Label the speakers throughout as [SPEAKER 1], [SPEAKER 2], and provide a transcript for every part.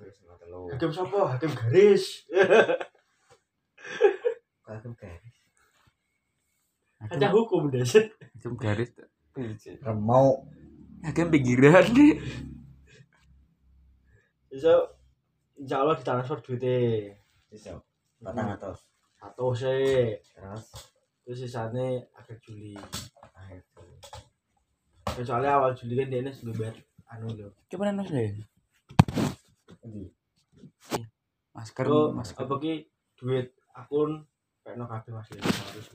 [SPEAKER 1] ngoten lho.
[SPEAKER 2] Hakim sopo? Hakim garis.
[SPEAKER 1] Hakim garis.
[SPEAKER 2] Kaca
[SPEAKER 3] Hakim,
[SPEAKER 2] hukum deh.
[SPEAKER 3] hakim garis.
[SPEAKER 1] Remuk.
[SPEAKER 3] Hakim pinggiran nih.
[SPEAKER 2] Bisa insya Allah ditransfer duitnya Hmm,
[SPEAKER 1] Iso. Patang atus.
[SPEAKER 2] satu sih.
[SPEAKER 1] ya, Terus
[SPEAKER 2] Terus sisanya akhir Juli.
[SPEAKER 1] akhir tuh.
[SPEAKER 2] Dan soalnya awal Juli kan dia ini sudah bayar anu lho.
[SPEAKER 3] Coba nanya deh.
[SPEAKER 1] Endi?
[SPEAKER 3] Masker,
[SPEAKER 2] Terus
[SPEAKER 3] masker.
[SPEAKER 2] Oh, apa ki duit akun kayak no kabeh masih harus.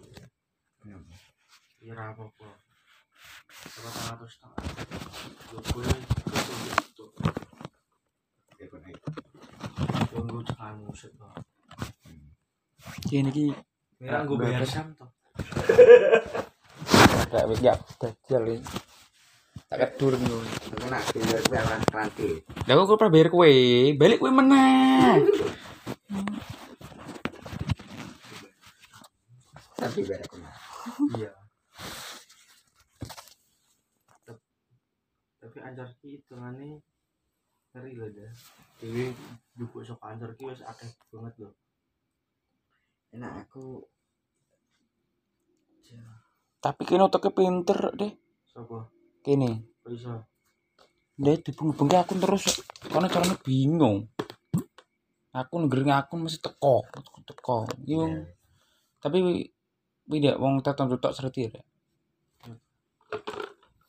[SPEAKER 1] Kenapa?
[SPEAKER 2] Iya ra apa-apa. Sama tangan terus tangan. Yo gue itu
[SPEAKER 1] Ya, kok naik.
[SPEAKER 2] tunggu cekan musik kok.
[SPEAKER 3] Ini ki
[SPEAKER 2] Merah gue bayar sam toh.
[SPEAKER 3] tak ya dajal ini. Tak kedur nih.
[SPEAKER 1] Aku nak pindah ke jalan Kranti.
[SPEAKER 3] Lah kok gue pernah bayar kue, balik kue menang.
[SPEAKER 1] Tapi biar aku nak.
[SPEAKER 2] Iya. Tep- Tapi ancar ki hitungannya ngeri lah dah. Dewi juga sok ancar ki wis akeh banget loh.
[SPEAKER 1] Enak aku
[SPEAKER 3] Tapi kini otaknya pinter deh.
[SPEAKER 2] Sopo?
[SPEAKER 3] Kini.
[SPEAKER 2] Kok iso?
[SPEAKER 3] Dia dibung-bungi akun terus karena caranya bingung. Akun gering akun mesti teko, teko. Yo,
[SPEAKER 1] Ya.
[SPEAKER 3] tapi wi- wi dek wong tertentu tok serti dek.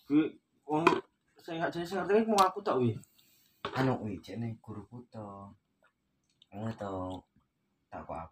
[SPEAKER 2] Gue wong saya nggak jadi saya ngerti ki mau aku tak wi.
[SPEAKER 1] anu kuwi jene guru puto ngono to Anu tak kok